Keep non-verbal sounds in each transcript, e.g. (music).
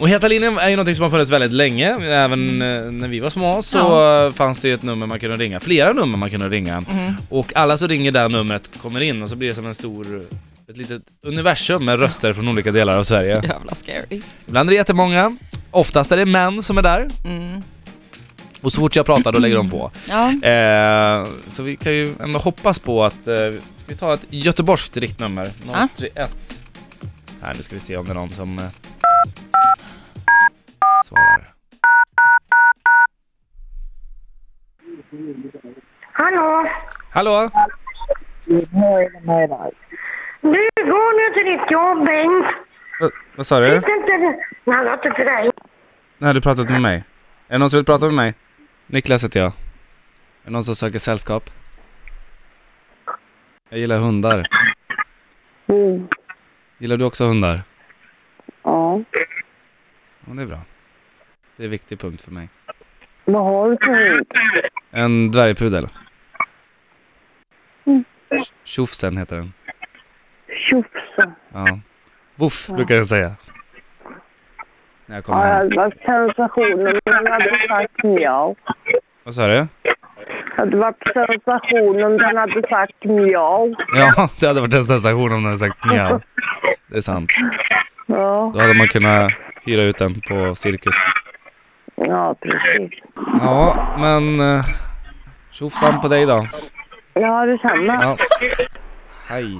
Och Heta linjen är ju någonting som har funnits väldigt länge, även eh, när vi var små så eh, fanns det ju ett nummer man kunde ringa, flera nummer man kunde ringa. Och alla som ringer det här numret kommer in och så blir det som en stor, ett litet universum med röster från olika delar av Sverige. (laughs) Jävla scary. Ibland är det jättemånga, oftast är det män som är där Mm. och så fort jag pratar då lägger de på. Ja. Eh, så vi kan ju ändå hoppas på att, eh, ska vi ta ett göteborgskt riktnummer? Ja. 031. Här, nu ska vi se om det är någon som eh, svarar. Hallå! Hallå? Du, går nu till ditt jobb, Bengt. Vad- vad sa du? Vet inte du... Nej, jag har inte till dig. Nej, du pratat med mig. Är det någon som vill prata med mig? Niklas heter jag. Är det någon som söker sällskap? Jag gillar hundar. Mm. Gillar du också hundar? Ja. Ja, det är bra. Det är en viktig punkt för mig. Vad har du för hund? En dvärgpudel. Mm. Sch- Tjofsen heter den. Tjofsa. Ja. Woof brukar jag säga. När jag kommer Ja, hem. det var sensationer. om Den hade sagt mjau. Vad sa du? Det hade varit sensation om den hade sagt mjau. Ja, (laughs) det hade varit en sensation om den hade sagt mjau. Det är sant. Ja, Då hade man kunnat hyra ut den på cirkus. ja precis. Ja, men eh, tjofsan på dig då. Ja, detsamma. Ja. Hej.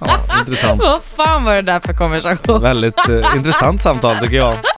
Ja, intressant. Vad fan var det där för konversation? Väldigt eh, intressant samtal tycker jag.